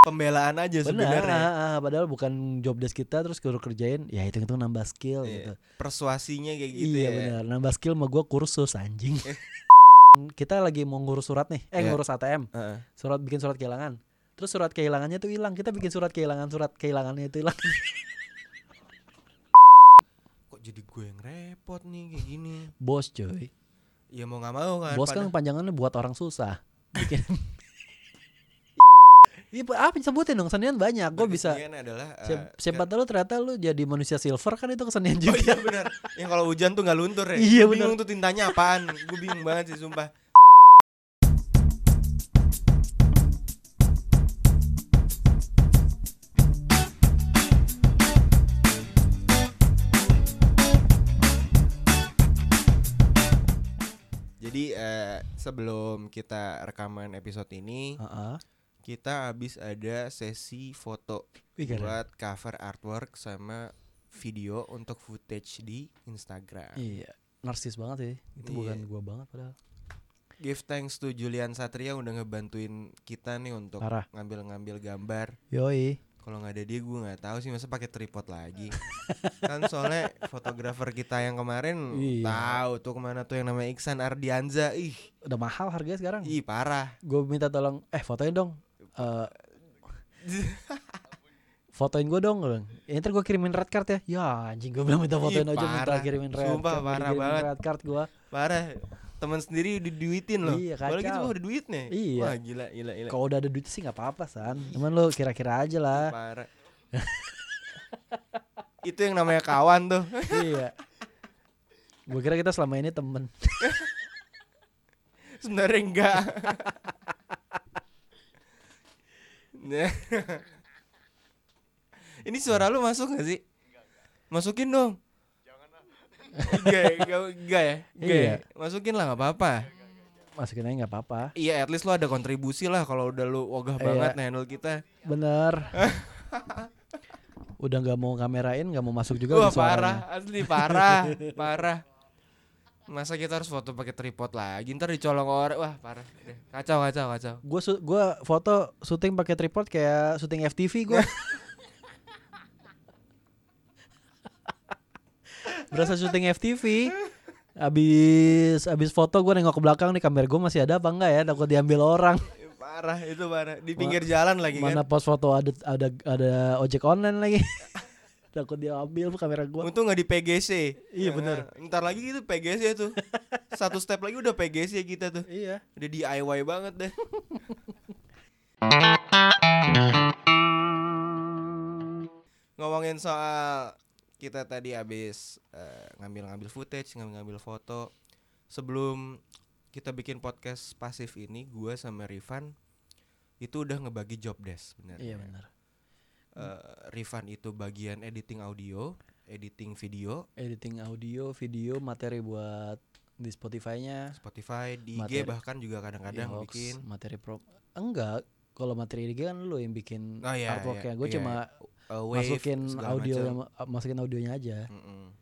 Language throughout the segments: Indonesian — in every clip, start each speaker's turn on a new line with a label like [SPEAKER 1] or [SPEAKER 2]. [SPEAKER 1] pembelaan aja
[SPEAKER 2] Benar,
[SPEAKER 1] sebenarnya.
[SPEAKER 2] ah, ah, padahal bukan job desk kita terus kudu kerjain, ya itu itu nambah skill
[SPEAKER 1] Iya,
[SPEAKER 2] gitu.
[SPEAKER 1] Persuasinya kayak gitu
[SPEAKER 2] iya
[SPEAKER 1] ya. Eh.
[SPEAKER 2] benar, nambah skill mah gua kursus anjing. kita lagi mau ngurus surat nih, eh
[SPEAKER 1] Iya.
[SPEAKER 2] ngurus ATM,
[SPEAKER 1] Heeh.
[SPEAKER 2] surat bikin surat kehilangan. Terus surat kehilangannya tuh hilang, kita bikin surat kehilangan, surat kehilangannya itu hilang.
[SPEAKER 1] Kok jadi gue yang repot nih kayak gini?
[SPEAKER 2] Bos coy.
[SPEAKER 1] Ya mau nggak mau kan.
[SPEAKER 2] Bos kan
[SPEAKER 1] padahal-
[SPEAKER 2] panjangannya buat orang susah. Bikin Iya, apa sebutin dong kesenian banyak. Gue bisa.
[SPEAKER 1] berlebihan adalah eh,
[SPEAKER 2] siap-
[SPEAKER 1] ke-
[SPEAKER 2] Siapa tahu ternyata lu jadi manusia silver kan itu kesenian
[SPEAKER 1] Oh
[SPEAKER 2] juga.
[SPEAKER 1] iya benar. Yang kalau hujan tuh nggak luntur ya.
[SPEAKER 2] Iya,
[SPEAKER 1] Gua Bingung tuh tintanya apaan. Gue bingung banget sih sumpah. Jadi eh, sebelum kita rekaman episode ini,
[SPEAKER 2] Heeh.
[SPEAKER 1] kita habis ada sesi foto
[SPEAKER 2] Wih, keren.
[SPEAKER 1] buat cover artwork sama video untuk footage di Instagram.
[SPEAKER 2] Iya. Narsis banget sih. Itu
[SPEAKER 1] Iya.
[SPEAKER 2] bukan gua banget padahal.
[SPEAKER 1] Give thanks to Julian Satria udah ngebantuin kita nih untuk
[SPEAKER 2] Parah.
[SPEAKER 1] ngambil-ngambil gambar.
[SPEAKER 2] Yoi.
[SPEAKER 1] Kalau nggak ada dia gue nggak tahu sih masa pakai tripod lagi. kan soalnya fotografer kita yang kemarin
[SPEAKER 2] Iya.
[SPEAKER 1] tahu tuh kemana tuh yang namanya Iksan Ardianza. Ih,
[SPEAKER 2] Udah mahal harganya sekarang.
[SPEAKER 1] ih parah.
[SPEAKER 2] Gue minta tolong eh fotoin dong. Eh fotoin gue dong gua bilang. Ya, ntar gue kirimin red card ya ya anjing gue bilang minta
[SPEAKER 1] Ih,
[SPEAKER 2] fotoin aja minta
[SPEAKER 1] parah.
[SPEAKER 2] kirimin red
[SPEAKER 1] Sumpah,
[SPEAKER 2] card, minta
[SPEAKER 1] parah
[SPEAKER 2] kirimin
[SPEAKER 1] banget.
[SPEAKER 2] red card gue
[SPEAKER 1] Parah. Teman sendiri diduitin loh.
[SPEAKER 2] Iya,
[SPEAKER 1] Padahal kita
[SPEAKER 2] kacau.
[SPEAKER 1] mah udah duitnya.
[SPEAKER 2] Iya.
[SPEAKER 1] Wah, gila gila gila.
[SPEAKER 2] kalau udah ada duit sih nggak apa-apa san cuman lo kira-kira aja lah
[SPEAKER 1] Parah. itu yang namanya kawan tuh.
[SPEAKER 2] iya gue kira kita selama ini temen
[SPEAKER 1] Sebenarnya enggak. Nah. Ini suara lu masuk gak sih? Masukin dong. Enggak, ya, enggak, enggak ya? Enggak ya?
[SPEAKER 2] Iya.
[SPEAKER 1] Masukin lah nggak apa-apa.
[SPEAKER 2] masukin aja nggak apa-apa
[SPEAKER 1] Iya, at least lu ada kontribusi lah kalau udah lu wogah banget handle kita.
[SPEAKER 2] bener udah nggak mau kamerain nggak mau masuk juga
[SPEAKER 1] Wah,
[SPEAKER 2] udah suaranya.
[SPEAKER 1] parah, asli parah, parah. Masa kita harus foto pakai tripod lagi, ntar dicolong orang. Wah, parah. Udah, Kacau, kacau, kacau.
[SPEAKER 2] gue su- gua foto syuting pakai tripod kayak syuting FTV gue berasa syuting FTV abis abis foto gue nengok ke belakang nih kamera gue masih ada apa enggak ya takut diambil orang
[SPEAKER 1] Eh, Parah itu parah. Di pinggir jalan lagi
[SPEAKER 2] mana
[SPEAKER 1] kan.
[SPEAKER 2] pos foto ada ada ada ojek online lagi takut diambil kamera gue
[SPEAKER 1] Untung nggak di PGC.
[SPEAKER 2] Iya,
[SPEAKER 1] Nah,
[SPEAKER 2] bener.
[SPEAKER 1] Ntar lagi gitu itu PGC tuh. Satu step lagi udah PGC kita tuh.
[SPEAKER 2] iya
[SPEAKER 1] Udah DIY banget deh. Ngomongin soal kita tadi habis eh, ngambil-ngambil footage, ngambil-ngambil foto. Sebelum kita bikin podcast pasif ini, gua sama Rifan itu udah ngebagi job desk sebenarnya.
[SPEAKER 2] iya benar
[SPEAKER 1] Eh, Rifan itu bagian editing audio, editing video,
[SPEAKER 2] editing audio video materi buat di Spotify-nya
[SPEAKER 1] Spotify, di
[SPEAKER 2] Materi. Iya,
[SPEAKER 1] IG bahkan juga kadang-kadang
[SPEAKER 2] Yox,
[SPEAKER 1] bikin.
[SPEAKER 2] materi pro enggak kalau materi dia kan lu yang bikin
[SPEAKER 1] Oh, iya,
[SPEAKER 2] artworknya
[SPEAKER 1] iya,
[SPEAKER 2] gue
[SPEAKER 1] iya,
[SPEAKER 2] cuma
[SPEAKER 1] uh, wave,
[SPEAKER 2] masukin
[SPEAKER 1] segala
[SPEAKER 2] audio
[SPEAKER 1] macam.
[SPEAKER 2] masukin audionya aja
[SPEAKER 1] Mm-mm.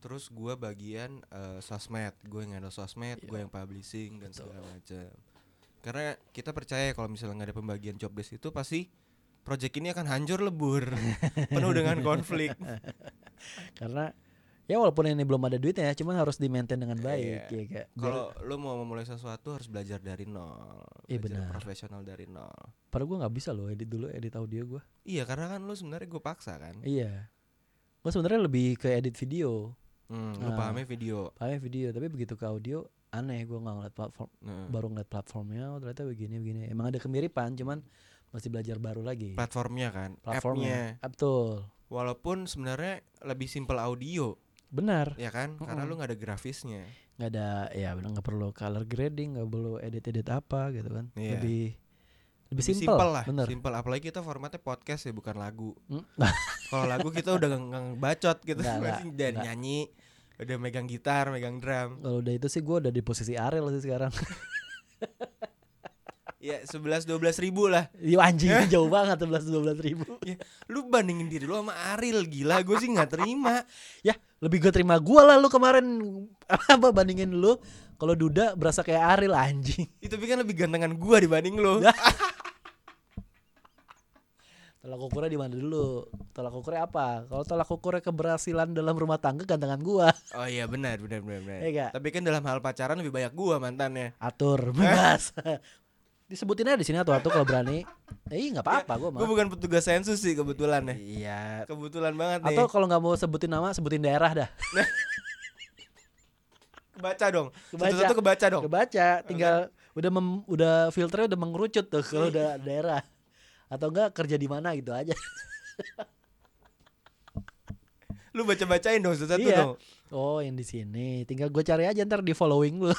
[SPEAKER 1] Terus gua bagian eh, sosmed, gue yang ada sosmed,
[SPEAKER 2] Iya.
[SPEAKER 1] gue yang publishing dan segala macam. Karena kita percaya kalau misalnya nggak ada pembagian job desk itu pasti project ini akan hancur lebur, penuh dengan konflik.
[SPEAKER 2] karena ya walaupun ini belum ada duitnya cuman harus di maintain dengan baik
[SPEAKER 1] Iya.
[SPEAKER 2] ya kayak biar-
[SPEAKER 1] Kalau lu mau memulai sesuatu harus belajar dari nol,
[SPEAKER 2] Iya,
[SPEAKER 1] belajar
[SPEAKER 2] benar.
[SPEAKER 1] profesional dari nol.
[SPEAKER 2] padahal gue nggak bisa loh edit dulu edit audio gue
[SPEAKER 1] Iya, karena kan lu sebenarnya gue paksa kan.
[SPEAKER 2] iya gue sebenarnya lebih ke edit video
[SPEAKER 1] Hmm, lu
[SPEAKER 2] Nah.
[SPEAKER 1] pahami video.
[SPEAKER 2] pakai video tapi begitu ke audio aneh gue nggak ngeliat platform
[SPEAKER 1] Nah,
[SPEAKER 2] baru ngeliat platformnya oh, ternyata begini begini emang ada kemiripan cuman masih belajar baru lagi
[SPEAKER 1] platformnya kan,
[SPEAKER 2] platformnya
[SPEAKER 1] appnya.
[SPEAKER 2] Ah, betul
[SPEAKER 1] Walaupun sebenarnya lebih simpel audio,
[SPEAKER 2] benar
[SPEAKER 1] ya kan? Karena
[SPEAKER 2] Mm-mm.
[SPEAKER 1] lu nggak ada grafisnya.
[SPEAKER 2] nggak ada ya benar nggak perlu color grading nggak perlu edit edit apa gitu kan
[SPEAKER 1] Iya.
[SPEAKER 2] lebih lebih
[SPEAKER 1] Lebih
[SPEAKER 2] simpel
[SPEAKER 1] lah,
[SPEAKER 2] bener
[SPEAKER 1] simpel. Apalagi kita formatnya podcast ya, bukan lagu.
[SPEAKER 2] Hmm.
[SPEAKER 1] Kalau lagu kita udah nggak- nggak bacot gitu,
[SPEAKER 2] Nggak,
[SPEAKER 1] Masih
[SPEAKER 2] nggak,
[SPEAKER 1] dan
[SPEAKER 2] nggak.
[SPEAKER 1] nyanyi, udah megang gitar, megang drum.
[SPEAKER 2] kalau udah itu sih gue udah di posisi Ariel sih sekarang
[SPEAKER 1] Ya 11 12 ribu lah.
[SPEAKER 2] Iya anjing itu jauh banget 11 dua ribu
[SPEAKER 1] Ya, lu bandingin diri lu sama Aril gila, gue sih nggak terima.
[SPEAKER 2] ya lebih gue terima gue lah lu kemarin apa bandingin lu kalau Duda berasa kayak Ariel anjing
[SPEAKER 1] Itu tapi kan lebih gantengan gua dibanding lu.
[SPEAKER 2] Tolak ukurnya di mana dulu? Tolak ukurnya apa? Kalau tolak ukurnya keberhasilan dalam rumah tangga gantengan gua.
[SPEAKER 1] Oh iya benar benar benar benar.
[SPEAKER 2] Iya nggak?
[SPEAKER 1] Tapi kan dalam hal pacaran lebih banyak gua mantannya.
[SPEAKER 2] Atur, bebas. Disebutin aja di sini atuh-atuh kalau berani. Eh, nggak apa-apa gua mah.
[SPEAKER 1] Gua bukan petugas sensus sih kebetulan ya.
[SPEAKER 2] Iya.
[SPEAKER 1] Kebetulan banget nih.
[SPEAKER 2] Atau kalau nggak mau sebutin nama, sebutin daerah dah.
[SPEAKER 1] kebaca dong.
[SPEAKER 2] Kebaca.
[SPEAKER 1] Satu-satu kebaca dong.
[SPEAKER 2] Kebaca, tinggal udah mem- udah filternya udah mengerucut tuh kalau
[SPEAKER 1] Iya.
[SPEAKER 2] udah daerah. Atau enggak kerja di mana gitu aja.
[SPEAKER 1] Lu baca-bacain dong satu-satu
[SPEAKER 2] Iya.
[SPEAKER 1] dong.
[SPEAKER 2] Oh, yang di sini. Tinggal gue cari aja ntar di following lu.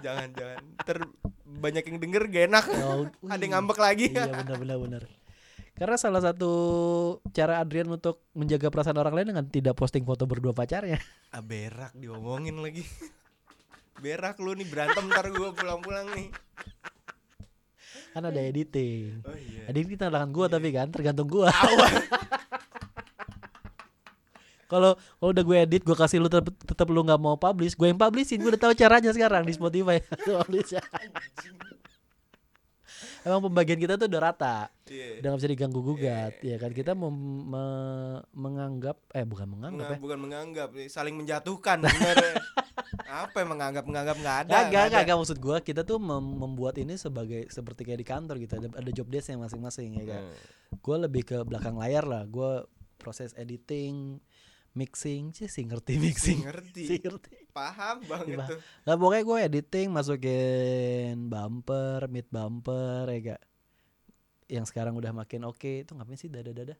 [SPEAKER 1] Jangan jangan. Ter banyak yang denger gak enak.
[SPEAKER 2] Oh,
[SPEAKER 1] Ada yang
[SPEAKER 2] wih.
[SPEAKER 1] ngambek lagi.
[SPEAKER 2] Iya benar benar benar. Karena salah satu cara Adrian untuk menjaga perasaan orang lain dengan tidak posting foto berdua pacarnya.
[SPEAKER 1] Ah, berak diomongin lagi. berak lu nih berantem ntar gua pulang-pulang nih.
[SPEAKER 2] Kan ada editing.
[SPEAKER 1] Oh iya.
[SPEAKER 2] Editing kita tangan gua tapi kan tergantung gua. Kalau kalau udah gue edit, gue kasih lu tetep, tetep lu nggak mau publish, gue yang publishin, gue udah tahu caranya sekarang di Spotify.
[SPEAKER 1] ya.
[SPEAKER 2] Tuh, publish. Emang pembagian kita tuh udah rata,
[SPEAKER 1] Iya.
[SPEAKER 2] udah gak bisa diganggu gugat, ya kan kita mem- me- menganggap, eh bukan
[SPEAKER 1] Menga-
[SPEAKER 2] menganggap ya,
[SPEAKER 1] bukan iya. menganggap nih, saling menjatuhkan bener. ya. Apa yang menganggap menganggap nggak ada.
[SPEAKER 2] Gak, gak,
[SPEAKER 1] nggak
[SPEAKER 2] gak,
[SPEAKER 1] ada.
[SPEAKER 2] gak. maksud gua kita tuh mem- membuat ini sebagai seperti kayak di kantor gitu ada, ada job desk masing-masing ya kan.
[SPEAKER 1] Hmm.
[SPEAKER 2] Gua lebih ke belakang layar lah. Gua proses editing, mixing, sih sih ngerti mixing.
[SPEAKER 1] Ngerti.
[SPEAKER 2] Sih ngerti.
[SPEAKER 1] Paham banget
[SPEAKER 2] Iya.
[SPEAKER 1] tuh.
[SPEAKER 2] Nah, pokoknya gue editing masukin bumper, mid bumper ya gak. Yang sekarang udah makin oke itu ngapain sih dada-dada?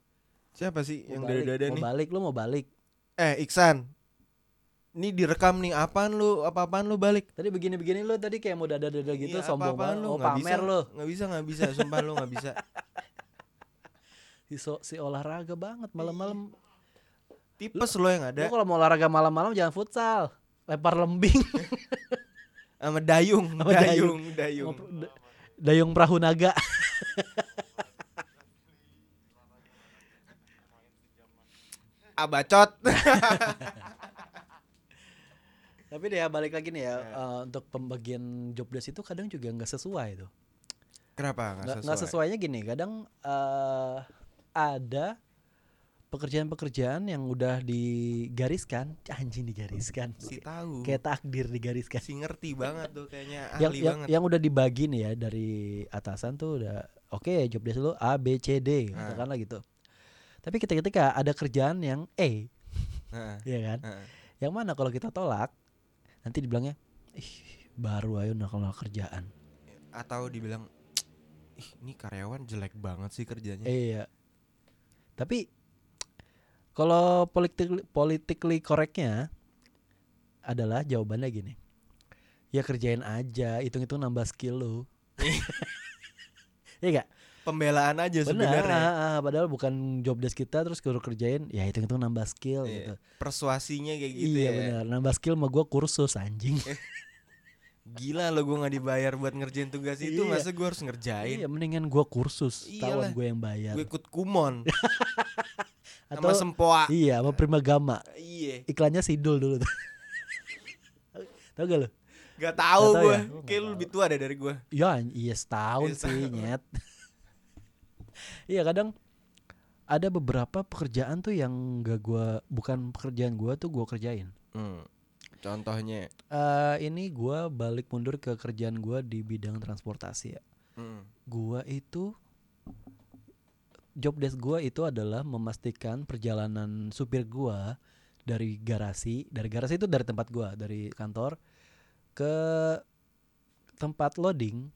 [SPEAKER 1] Siapa sih
[SPEAKER 2] Mau balik, mau balik, lu mau balik.
[SPEAKER 1] Eh, Iksan. Ini direkam nih apaan lu? Apa-apaan lu balik?
[SPEAKER 2] Tadi begini-begini lu tadi kayak mau dada-dada gitu
[SPEAKER 1] Iya,
[SPEAKER 2] sombong
[SPEAKER 1] apa-apaan
[SPEAKER 2] banget. Oh,
[SPEAKER 1] nggak bisa,
[SPEAKER 2] pamer lu.
[SPEAKER 1] Nggak bisa, nggak bisa, sumpah lu nggak bisa.
[SPEAKER 2] Si, so- si olahraga banget malam-malam
[SPEAKER 1] Iya. Tipes lu yang ada
[SPEAKER 2] Lu kalau mau olahraga malam-malam jangan futsal, lempar lembing,
[SPEAKER 1] sama dayung,
[SPEAKER 2] Sama
[SPEAKER 1] dayung, dayung.
[SPEAKER 2] Ngoper- da- dayung perahu naga.
[SPEAKER 1] Abacot.
[SPEAKER 2] Tapi deh ya, balik lagi nih ya
[SPEAKER 1] Iya.
[SPEAKER 2] eh, untuk pembagian job desk itu kadang juga nggak sesuai tuh.
[SPEAKER 1] Kenapa
[SPEAKER 2] Nggak
[SPEAKER 1] nggak
[SPEAKER 2] nggak
[SPEAKER 1] sesuai?
[SPEAKER 2] sesuainya gini, kadang eh, ada pekerjaan-pekerjaan yang udah digariskan, anjing digariskan.
[SPEAKER 1] Si tahu.
[SPEAKER 2] Kayak takdir digariskan.
[SPEAKER 1] Si ngerti banget tuh kayaknya ahli
[SPEAKER 2] yang, yang,
[SPEAKER 1] banget.
[SPEAKER 2] yang udah dibagi nih ya dari atasan tuh udah oke job desk lu A B C D
[SPEAKER 1] Ah.
[SPEAKER 2] katakanlah gitu. Tapi ketika ketika ada kerjaan yang E,
[SPEAKER 1] Heeh,
[SPEAKER 2] ya kan?
[SPEAKER 1] heeh.
[SPEAKER 2] Yang mana kalau kita tolak nanti dibilangnya ih baru ayo nakal kerjaan.
[SPEAKER 1] Atau dibilang Ih, ini karyawan jelek banget sih kerjanya.
[SPEAKER 2] Iya. Tapi kalau politik politically correctnya adalah jawabannya gini. Ya kerjain aja, hitung-hitung nambah skill lu. Iya gak?
[SPEAKER 1] Pembelaan aja
[SPEAKER 2] Benar,
[SPEAKER 1] sebenarnya.
[SPEAKER 2] ah, ah, padahal bukan job desk kita terus kudu kerjain, ya itu itu nambah skill
[SPEAKER 1] Iya,
[SPEAKER 2] gitu.
[SPEAKER 1] Persuasinya kayak gitu
[SPEAKER 2] iya
[SPEAKER 1] ya. Eh,
[SPEAKER 2] benar, nambah skill mah gua kursus anjing.
[SPEAKER 1] Gila lo gue nggak dibayar buat ngerjain tugas itu,
[SPEAKER 2] Iya.
[SPEAKER 1] masa gue harus ngerjain?
[SPEAKER 2] iya, mendingan gua kursus,
[SPEAKER 1] Iyalah.
[SPEAKER 2] tawan gua yang bayar.
[SPEAKER 1] Gue ikut kumon sama
[SPEAKER 2] Atau
[SPEAKER 1] sempoa.
[SPEAKER 2] iya, sama Prima Gama.
[SPEAKER 1] Iya,
[SPEAKER 2] Iklannya Sidul dulu tuh. Tahu gak lu?
[SPEAKER 1] gak tahu
[SPEAKER 2] Nggak tahu
[SPEAKER 1] gue.
[SPEAKER 2] ya? Oh, nggak
[SPEAKER 1] Kayak lu
[SPEAKER 2] tahu.
[SPEAKER 1] lebih tua deh dari gue.
[SPEAKER 2] Ya, iya setahun
[SPEAKER 1] Iya,
[SPEAKER 2] sih, nyet. iya, kadang ada beberapa pekerjaan tuh yang gak gua bukan pekerjaan gua tuh gua kerjain.
[SPEAKER 1] Contohnya,
[SPEAKER 2] Eh ini gua balik mundur ke kerjaan gua di bidang transportasi ya. Gua itu job desk gua itu adalah memastikan perjalanan supir gua dari garasi, dari garasi itu dari tempat gua, dari kantor ke tempat loading.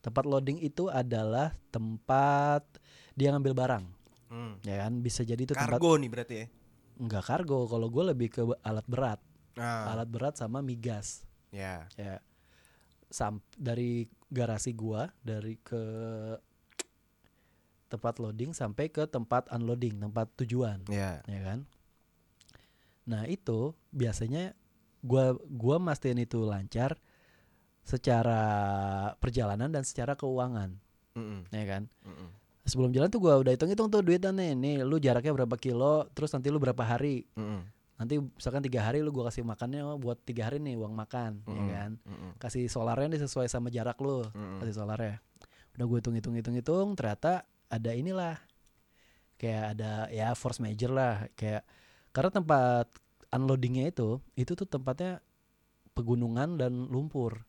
[SPEAKER 2] Tempat loading itu adalah tempat dia ngambil barang,
[SPEAKER 1] Hmm.
[SPEAKER 2] ya kan? Bisa jadi itu tempat
[SPEAKER 1] kargo nih berarti ya.
[SPEAKER 2] enggak kargo. Kalau gua lebih ke alat berat,
[SPEAKER 1] Nah,
[SPEAKER 2] alat berat sama migas.
[SPEAKER 1] ya.
[SPEAKER 2] ya sam dari garasi gua dari ke tempat loading sampai ke tempat unloading tempat tujuan
[SPEAKER 1] Ya.
[SPEAKER 2] ya kan nah itu biasanya gua gua mastiin itu lancar secara perjalanan dan secara keuangan
[SPEAKER 1] Mm-mm,
[SPEAKER 2] ya kan
[SPEAKER 1] mm-mm,
[SPEAKER 2] sebelum jalan tuh gua udah hitung-hitung tuh duitnya nih nih lu jaraknya berapa kilo terus nanti lu berapa hari
[SPEAKER 1] mm-mm,
[SPEAKER 2] nanti misalkan tiga hari lu gua kasih makannya oh, buat tiga hari nih uang makan ya
[SPEAKER 1] mm-mm,
[SPEAKER 2] kan
[SPEAKER 1] mm-mm,
[SPEAKER 2] kasih solarnya nih sesuai sama jarak lu
[SPEAKER 1] mm-mm.
[SPEAKER 2] kasih solarnya udah gue hitung hitung hitung hitung ternyata ada inilah kayak ada ya force major lah kayak karena tempat unloadingnya itu itu tuh tempatnya pegunungan dan lumpur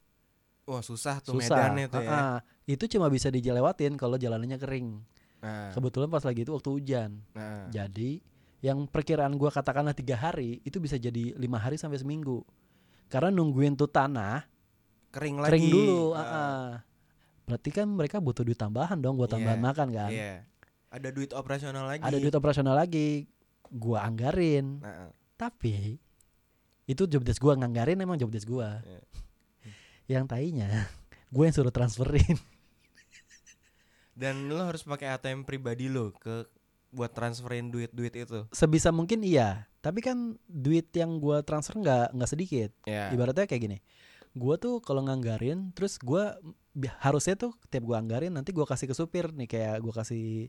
[SPEAKER 1] Wah susah tuh
[SPEAKER 2] susah
[SPEAKER 1] medannya tuh ya.
[SPEAKER 2] Ah, ah. itu cuma bisa dijelewatin kalau jalanannya kering
[SPEAKER 1] Nah,
[SPEAKER 2] kebetulan pas lagi itu waktu hujan
[SPEAKER 1] nah.
[SPEAKER 2] Jadi yang perkiraan gua katakanlah tiga hari itu bisa jadi lima hari sampai seminggu. Karena nungguin tuh tanah
[SPEAKER 1] kering lagi.
[SPEAKER 2] kering dulu.
[SPEAKER 1] Ah,
[SPEAKER 2] ah-ah. Berarti kan mereka butuh duit tambahan dong buat tambahan
[SPEAKER 1] Iya,
[SPEAKER 2] makan kan.
[SPEAKER 1] Iya. Ada duit operasional lagi.
[SPEAKER 2] Ada duit operasional lagi, gua anggarin.
[SPEAKER 1] Nah, ah.
[SPEAKER 2] Tapi itu jobdesk gua nganggarin emang jobdesk gua.
[SPEAKER 1] Iya.
[SPEAKER 2] Yang tainya gue yang suruh transferin.
[SPEAKER 1] Dan lo harus pakai ATM pribadi lo ke buat transferin duit-duit itu.
[SPEAKER 2] Sebisa mungkin iya, tapi kan duit yang gua transfer nggak nggak sedikit.
[SPEAKER 1] Ya.
[SPEAKER 2] ibaratnya kayak gini gue tuh kalau nganggarin terus gue harusnya tuh tiap gue anggarin nanti gue kasih ke supir nih kayak gue kasih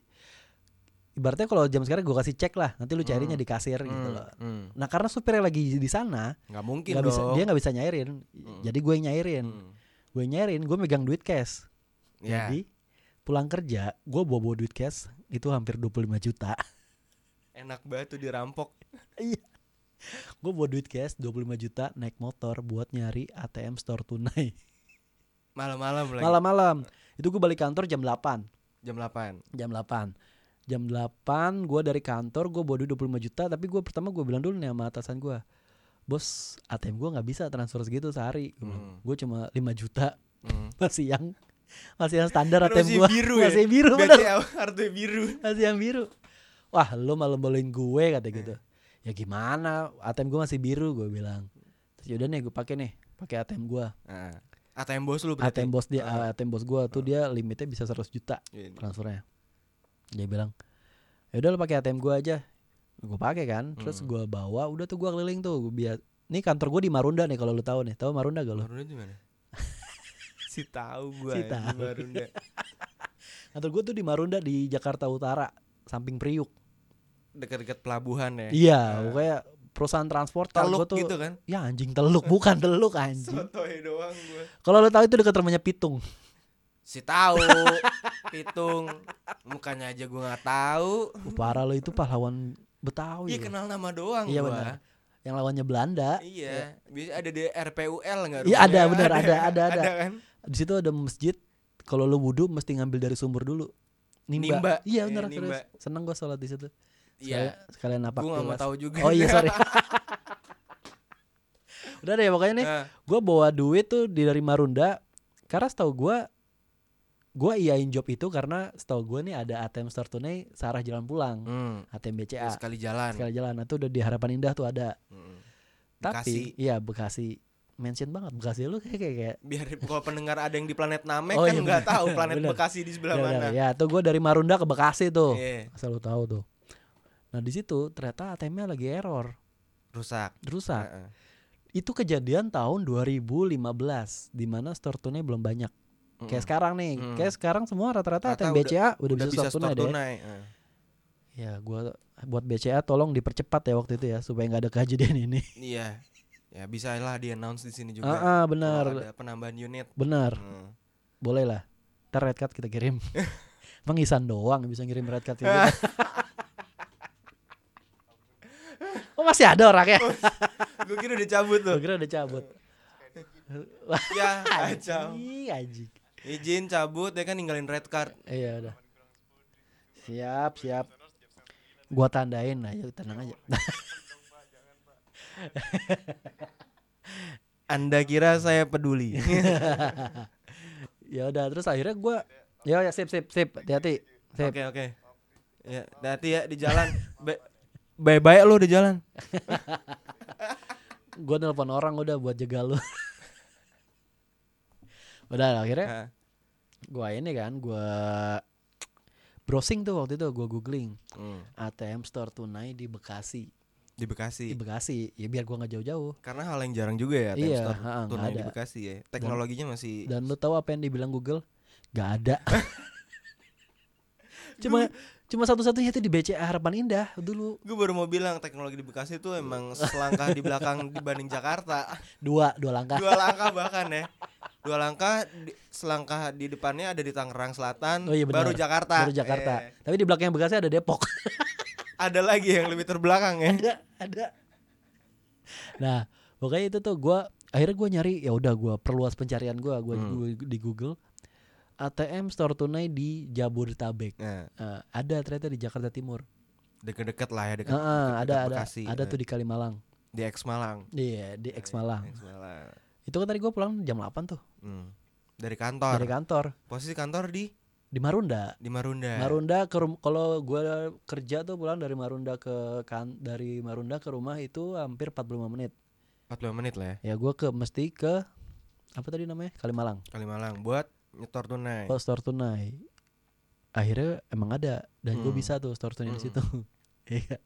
[SPEAKER 2] ibaratnya kalau jam sekarang gue kasih cek lah nanti lu
[SPEAKER 1] Hmm.
[SPEAKER 2] carinya di kasir gitu loh nah karena supirnya lagi di sana
[SPEAKER 1] Gak Hmm. mungkin
[SPEAKER 2] nggak
[SPEAKER 1] dong.
[SPEAKER 2] bisa dia nggak bisa nyairin jadi gue yang nyairin
[SPEAKER 1] Hmm.
[SPEAKER 2] gue nyairin gue megang duit cash
[SPEAKER 1] Ya.
[SPEAKER 2] jadi pulang kerja gue bawa bawa duit cash itu hampir 25 juta
[SPEAKER 1] Enak banget tuh dirampok.
[SPEAKER 2] gue bawa duit cash 25 juta naik motor buat nyari ATM store tunai
[SPEAKER 1] Malam-malam lagi.
[SPEAKER 2] malam-malam itu gue balik kantor jam 8
[SPEAKER 1] Jam 8.
[SPEAKER 2] jam 8 jam 8 gue dari kantor gue bawa duit 25 juta tapi gue pertama gue bilang dulu nih sama atasan gue bos ATM gue nggak bisa transfer segitu sehari
[SPEAKER 1] Hmm.
[SPEAKER 2] gue cuma 5 juta
[SPEAKER 1] Hmm.
[SPEAKER 2] masih yang masih yang standar
[SPEAKER 1] Aduh,
[SPEAKER 2] ATM
[SPEAKER 1] masih
[SPEAKER 2] gue
[SPEAKER 1] biru ya?
[SPEAKER 2] masih biru bener
[SPEAKER 1] BCA kartu biru.
[SPEAKER 2] masih yang biru wah lo malah bolehin gue kata gitu
[SPEAKER 1] Iya.
[SPEAKER 2] ya gimana ATM gue masih biru gue bilang terus yaudah nih gue pakai nih pakai ATM gue
[SPEAKER 1] Ah. ATM bos lu berarti.
[SPEAKER 2] ATM bos dia
[SPEAKER 1] Ah.
[SPEAKER 2] ATM bos gue tuh dia limitnya bisa 100 juta
[SPEAKER 1] Iya, Ini.
[SPEAKER 2] transfernya dia bilang ya udah lo pakai ATM gua aja gue pakai kan
[SPEAKER 1] Hmm.
[SPEAKER 2] terus gua bawa udah tuh gua keliling tuh gua biar nih kantor gue di Marunda nih kalau lu tahu nih tahu Marunda gak lu
[SPEAKER 1] Marunda di mana? si tahu gua
[SPEAKER 2] Si
[SPEAKER 1] ini
[SPEAKER 2] tahu.
[SPEAKER 1] Marunda.
[SPEAKER 2] kantor gue tuh di Marunda di Jakarta Utara samping Priuk
[SPEAKER 1] Dekat-dekat pelabuhan ya.
[SPEAKER 2] iya pokoknya perusahaan transport kalau
[SPEAKER 1] Teluk
[SPEAKER 2] gua tuh
[SPEAKER 1] gitu kan.
[SPEAKER 2] ya anjing teluk bukan teluk anjing
[SPEAKER 1] Sotoy doang gua.
[SPEAKER 2] kalau lu tahu itu dekat rumahnya Pitung
[SPEAKER 1] Si tahu, pitung, mukanya aja gua nggak tahu.
[SPEAKER 2] Uh, parah lo itu pahlawan Betawi
[SPEAKER 1] Iya
[SPEAKER 2] lo.
[SPEAKER 1] kenal nama doang
[SPEAKER 2] Oh, iya
[SPEAKER 1] gua.
[SPEAKER 2] benar yang lawannya Belanda
[SPEAKER 1] Iya, biasa ada di RPUL enggak?
[SPEAKER 2] Iya, ada, benar, ada, ada, ada.
[SPEAKER 1] kan?
[SPEAKER 2] di situ ada masjid kalau lu wudhu mesti ngambil dari sumber dulu nimba,
[SPEAKER 1] Nimba.
[SPEAKER 2] iya
[SPEAKER 1] Iya,
[SPEAKER 2] benar
[SPEAKER 1] nimba.
[SPEAKER 2] serius seneng gue sholat di situ
[SPEAKER 1] Iya.
[SPEAKER 2] Sekalian- sekalian apa
[SPEAKER 1] Gua nggak mau tahu juga.
[SPEAKER 2] oh iya sorry udah deh pokoknya nih
[SPEAKER 1] Nah,
[SPEAKER 2] gue bawa duit tuh di dari Marunda karena setahu gue gue iyain job itu karena setahu gue nih ada ATM store tunai searah jalan pulang
[SPEAKER 1] hmm,
[SPEAKER 2] ATM
[SPEAKER 1] ya,
[SPEAKER 2] BCA
[SPEAKER 1] sekali jalan.
[SPEAKER 2] Iya. sekali jalan Nah, itu udah di harapan indah tuh ada
[SPEAKER 1] Mm.
[SPEAKER 2] tapi iya Bekasi mention banget Bekasi lu kayak kayak, kayak
[SPEAKER 1] biar kalau pendengar ada yang di planet Namek
[SPEAKER 2] Oh,
[SPEAKER 1] kan
[SPEAKER 2] iya,
[SPEAKER 1] nggak
[SPEAKER 2] benar.
[SPEAKER 1] tahu planet
[SPEAKER 2] Benar. Oh.
[SPEAKER 1] Bekasi di sebelah
[SPEAKER 2] Udah,
[SPEAKER 1] mana.
[SPEAKER 2] udah, ya tuh gue dari Marunda ke Bekasi tuh
[SPEAKER 1] Iya,
[SPEAKER 2] Asal lu tahu tuh. Nah, di situ ternyata ATM-nya lagi error,
[SPEAKER 1] rusak.
[SPEAKER 2] rusak.
[SPEAKER 1] Heeh.
[SPEAKER 2] Itu kejadian tahun 2015 di mana store tunai belum banyak. Kayak
[SPEAKER 1] Mm-mm.
[SPEAKER 2] sekarang nih,
[SPEAKER 1] Mm.
[SPEAKER 2] kayak sekarang semua
[SPEAKER 1] Rata
[SPEAKER 2] rata-rata ATM
[SPEAKER 1] udah-
[SPEAKER 2] BCA udah,
[SPEAKER 1] udah
[SPEAKER 2] bisa, store tunai deh.
[SPEAKER 1] heeh.
[SPEAKER 2] Ya, gua buat BCA tolong dipercepat ya waktu itu ya supaya nggak ada kejadian ini.
[SPEAKER 1] Iya. Ya bisa lah di announce di sini juga.
[SPEAKER 2] Ah, ah,
[SPEAKER 1] Kalau
[SPEAKER 2] benar.
[SPEAKER 1] Ada Mm. penambahan unit.
[SPEAKER 2] Benar.
[SPEAKER 1] Heeh.
[SPEAKER 2] Boleh lah. Ntar red card kita kirim. Emang Isan doang yang bisa ngirim red card gitu? itu. oh masih ada orangnya.
[SPEAKER 1] Gue kira udah cabut
[SPEAKER 2] Gue
[SPEAKER 1] tuh.
[SPEAKER 2] kira udah cabut.
[SPEAKER 1] ya, kacau.
[SPEAKER 2] Anjing, anjing.
[SPEAKER 1] Izin cabut dia kan ninggalin red card.
[SPEAKER 2] Iya udah. Siap, siap. Gua tandain aja, tenang aja.
[SPEAKER 1] Anda kira saya peduli?
[SPEAKER 2] ya udah, terus akhirnya gua ya ya sip sip sip, hati-hati. Sip.
[SPEAKER 1] Oke oke. Ya, nanti ya di jalan. Bye bye lo di jalan.
[SPEAKER 2] Gua nelpon orang udah buat jaga lu. udah akhirnya
[SPEAKER 1] Ah,
[SPEAKER 2] gua ini kan gua browsing tuh waktu itu gua googling
[SPEAKER 1] mm.
[SPEAKER 2] ATM store tunai di Bekasi.
[SPEAKER 1] Di
[SPEAKER 2] Di
[SPEAKER 1] Bekasi.
[SPEAKER 2] Bekasi, ya biar gua nggak jauh-jauh.
[SPEAKER 1] Karena hal yang jarang juga ya
[SPEAKER 2] Iya,
[SPEAKER 1] Store
[SPEAKER 2] ha, nggak
[SPEAKER 1] tunai di
[SPEAKER 2] ada.
[SPEAKER 1] Bekasi ya. Teknologinya masih
[SPEAKER 2] Dan lu tahu apa yang dibilang Google? Gak ada. cuma Cuma satu-satunya itu di BCA Harapan Indah dulu.
[SPEAKER 1] Gue baru mau bilang teknologi di Bekasi tuh emang
[SPEAKER 2] Iya.
[SPEAKER 1] selangkah di belakang dibanding Jakarta.
[SPEAKER 2] Nah. Dua, dua langkah.
[SPEAKER 1] Dua langkah bahkan ya. Dua langkah di- selangkah di depannya ada di Tangerang Selatan,
[SPEAKER 2] Oh iya benar.
[SPEAKER 1] baru Jakarta.
[SPEAKER 2] Baru Jakarta.
[SPEAKER 1] Eh,
[SPEAKER 2] Tapi di belakangnya Bekasi ada Depok.
[SPEAKER 1] ada lagi yang lebih terbelakang ya.
[SPEAKER 2] ada, ada. Nah, pokoknya itu tuh gua akhirnya gua nyari ya udah gua perluas pencarian gua, gua gua di Google ATM store tunai di Jabodetabek.
[SPEAKER 1] Nah,
[SPEAKER 2] Eh, ada ternyata di Jakarta Timur.
[SPEAKER 1] deket-deket lah ya
[SPEAKER 2] Heeh,
[SPEAKER 1] deket,
[SPEAKER 2] ada ada
[SPEAKER 1] Bekasi,
[SPEAKER 2] ada
[SPEAKER 1] eh.
[SPEAKER 2] tuh di Kalimalang.
[SPEAKER 1] di X Malang.
[SPEAKER 2] Iya, di X Malang.
[SPEAKER 1] X Malang.
[SPEAKER 2] Itu kan tadi gua pulang jam 8 tuh
[SPEAKER 1] Hmm. Dari kantor.
[SPEAKER 2] dari kantor
[SPEAKER 1] Posisi kantor di
[SPEAKER 2] di Marunda.
[SPEAKER 1] di Marunda.
[SPEAKER 2] Marunda ke rum- kalau gua kerja tuh pulang dari Marunda ke kan dari Marunda ke rumah itu hampir 45 menit.
[SPEAKER 1] 45 menit lah ya.
[SPEAKER 2] Ya gua ke mesti ke apa tadi namanya? Kalimalang.
[SPEAKER 1] Kalimalang buat nyetor tunai.
[SPEAKER 2] Kalau store tunai. Akhirnya emang ada dan gua
[SPEAKER 1] Hmm.
[SPEAKER 2] bisa tuh store tunai di
[SPEAKER 1] Hmm. Oh.
[SPEAKER 2] situ. Iya.